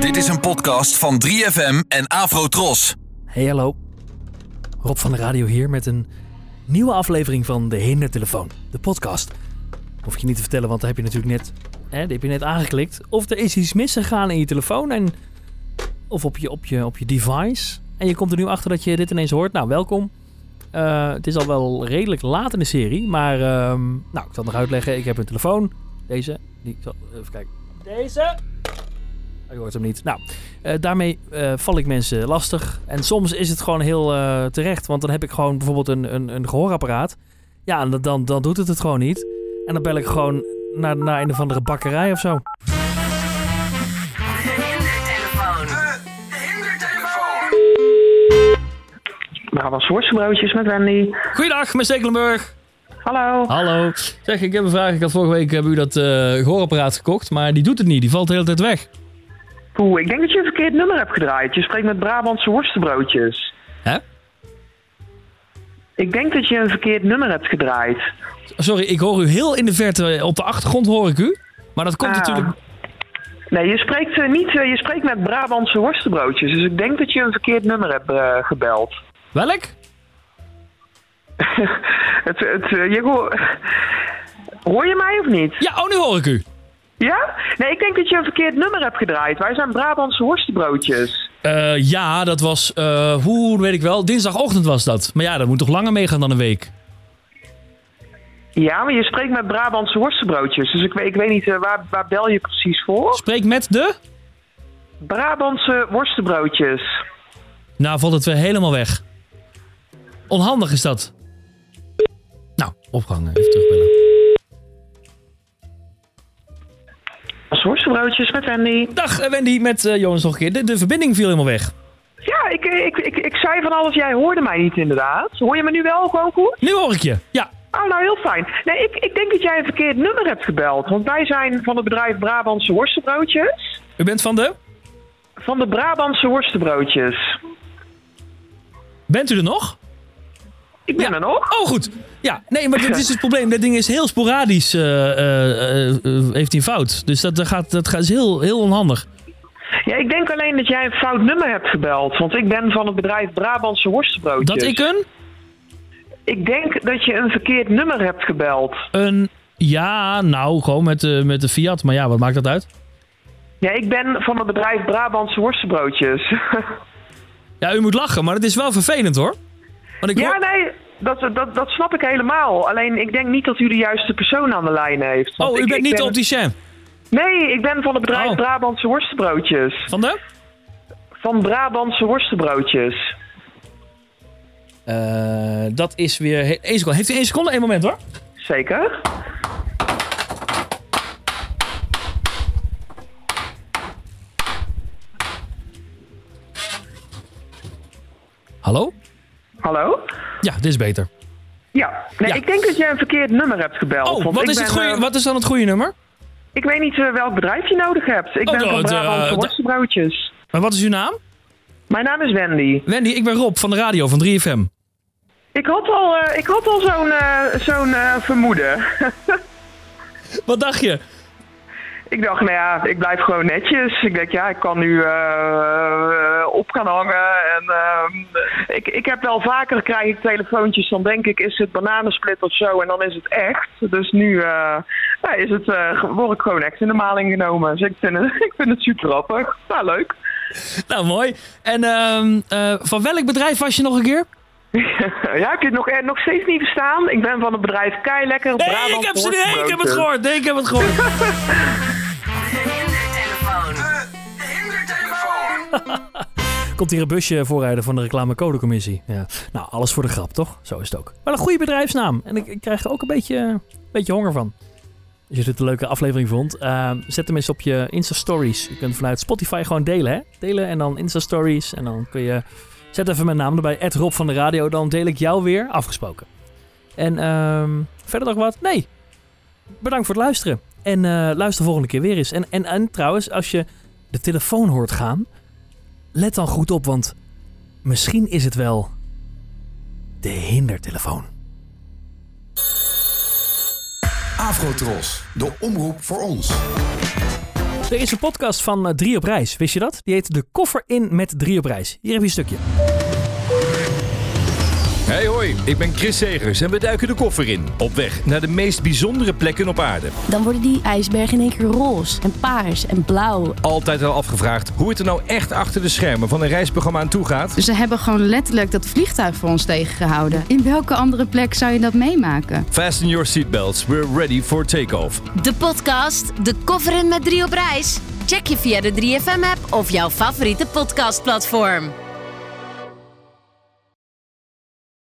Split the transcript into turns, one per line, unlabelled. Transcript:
Dit is een podcast van 3FM en Afrotros.
Hey hallo, Rob van de Radio hier met een nieuwe aflevering van De Hindertelefoon, de podcast. Hoef ik je niet te vertellen, want daar heb je natuurlijk net, hè, die heb je net aangeklikt. Of er is iets misgegaan in je telefoon en, of op je, op, je, op je device. En je komt er nu achter dat je dit ineens hoort. Nou, welkom. Eh, het is al wel redelijk laat in de serie, maar ehm, nou, ik zal het nog uitleggen. Ik heb een telefoon. Deze, die, ik zal, even kijken. Deze. Oh, Je hoort hem niet. Nou, eh, daarmee eh, val ik mensen lastig. En soms is het gewoon heel eh, terecht. Want dan heb ik gewoon bijvoorbeeld een, een, een gehoorapparaat. Ja, en dan, dan doet het het gewoon niet. En dan bel ik gewoon naar, naar een of andere bakkerij of zo.
De hindertelefoon. De hindertelefoon.
Brabant Soortsenbroodjes met Wendy.
Goeiedag, meneer Stekelenburg.
Hallo.
Hallo. Zeg, ik heb een vraag. Ik had vorige week hebben u dat eh, gehoorapparaat gekocht. Maar die doet het niet. Die valt de hele tijd weg.
Oeh, ik denk dat je een verkeerd nummer hebt gedraaid. Je spreekt met Brabantse worstenbroodjes.
Hè?
Ik denk dat je een verkeerd nummer hebt gedraaid.
Sorry, ik hoor u heel in de verte. Op de achtergrond hoor ik u. Maar dat komt
Ah.
natuurlijk...
Nee, je spreekt, eh, niet, eh, je spreekt met Brabantse worstenbroodjes. Dus ik denk dat je een verkeerd nummer hebt eh, gebeld.
Welk?
Het, het, eh, je hoor... hoor je mij of niet?
Ja, oh, nu hoor ik u.
Ja? Nee, ik denk dat je een verkeerd nummer hebt gedraaid. Wij zijn Brabantse worstenbroodjes.
Eh, ja, dat was, eh, hoe weet ik wel, dinsdagochtend was dat. Maar ja, dat moet toch langer meegaan dan een week?
Ja, maar je spreekt met Brabantse worstenbroodjes. Dus ik, weet- ik weet niet, eh, waar, waar bel je precies voor?
Spreek met de?
Brabantse worstenbroodjes.
Nou, valt het weer helemaal weg. Onhandig is dat. Nou, opgehangen. Even terugbellen.
Als worstenbroodjes met Andy.
Dag eh, Wendy, met eh Jonas nog een keer. De, de verbinding viel helemaal weg.
Ja, ik, ik, ik, ik zei van alles, jij hoorde mij niet inderdaad. Hoor je me nu wel gewoon goed?
Nu hoor ik je. Ja,
Oh, nou heel fijn. Nee, ik, ik denk dat jij een verkeerd nummer hebt gebeld. Want wij zijn van het bedrijf Brabantse Worstenbroodjes.
u bent van de?
Van de Brabantse Worstenbroodjes.
Bent u er nog?
Ik ben
Ja.
er nog.
Oh, goed. Ja, nee, maar dit is het probleem. Dat ding is heel sporadisch. eh, eh, eh, eh, heeft hij een fout. Dus dat, dat, gaat, dat gaat, is heel, heel onhandig.
Ja, ik denk alleen dat jij een fout nummer hebt gebeld. Want ik ben van het bedrijf Brabantse Worstenbroodjes.
Dat ik een...
Ik denk dat je een verkeerd nummer hebt gebeld.
Een. Ja, nou, gewoon met de, met de Fiat. Maar ja, wat maakt dat uit?
Ja, ik ben van het bedrijf Brabantse Worstenbroodjes.
Ja, u moet lachen, maar het is wel vervelend hoor. Want ik
Ja, nou,
hoor-
nee, dat, dat, dat snap ik helemaal. Alleen ik denk niet dat u de juiste persoon aan de lijn heeft. Want
Oh, u
ik-
bent
ik
niet de
ben-
opticien.
Nee, ik ben van het bedrijf
Oh.
Brabantse Worstenbroodjes.
Van de?
Van Brabantse Worstenbroodjes.
Eh, dat is weer. he- één seconde. Heeft u één seconde? Eén moment hoor.
Zeker?
Hallo?
Hallo?
Ja, dit is beter.
Ja, nee,
Ja.
ik denk dat jij een verkeerd nummer hebt gebeld.
Oh,
want
wat
ik
is,
ben,
het goede,
eh,
wat is dan het goede nummer?
Ik weet niet eh, welk bedrijf je nodig hebt. Ik
Oh,
ben van
dat, eh,
Brabantse
dat-
Worstenbroodjes.
Maar wat is uw naam?
Mijn naam is Wendy.
Wendy, ik ben Rob van de radio van 3FM.
Ik had al, eh, ik had al zo'n eh, zo'n eh, vermoeden.
Wat dacht je?
Ik dacht, nou ja, ik blijf gewoon netjes. Ik denk, ja, ik kan nu eh, eh, op gaan hangen. En, eh, ik, ik heb wel vaker, krijg ik telefoontjes, dan denk ik, is het bananensplit of zo? En dan is het echt. Dus nu eh, nou, is het, eh, word ik gewoon echt in de maling genomen. Dus ik vind het, ik vind het super grappig. Nou, leuk.
Nou, mooi. En ehm, eh, van welk bedrijf was je nog een keer?
ja, ik heb je het nog, eh, nog steeds niet verstaan. Ik ben van het bedrijf Keilekker.
Nee, ik heb ze niet. Ik heb het gehoord. Nee, ik heb het gehoord.
De hindertelefoon. De hindertelefoon.
komt hier een busje voorrijden van de reclamecodecommissie. Ja. Nou, alles voor de grap, toch? Zo is het ook. Maar een goede bedrijfsnaam. En ik, ik krijg er ook een beetje, een beetje honger van. Als je dit een leuke aflevering vond, eh, zet hem eens op je Insta-stories. Je kunt vanuit Spotify gewoon delen, hè? Delen en dan Insta-stories. En dan kun je... Zet even mijn naam erbij, Ed Rob van de Radio. Dan deel ik jou weer, afgesproken. En ehm, verder nog wat? Nee. Bedankt voor het luisteren. En eh, luister volgende keer weer eens. En, en, en trouwens, als je de telefoon hoort gaan, Let dan goed op, want misschien is het wel de hindertelefoon.
Afrotros, de omroep voor ons.
Er is een podcast van eh, Drie op Reis, wist je dat? Die heet De Koffer in met Drie op Reis. Hier heb je een stukje.
Hey hoi, ik ben Chris Segers en we duiken de koffer in. Op weg naar de meest bijzondere plekken op aarde.
Dan worden die ijsbergen in één keer roze en paars en blauw.
Altijd wel afgevraagd hoe het er nou echt achter de schermen van een reisprogramma aan toe gaat.
Dus Ze hebben gewoon letterlijk dat vliegtuig voor ons tegengehouden. In welke andere plek zou je dat meemaken?
Fasten your seatbelts, we're ready for takeoff.
De podcast De Koffer in met Drie op Reis. Check je via de 3FM-app of jouw favoriete podcastplatform.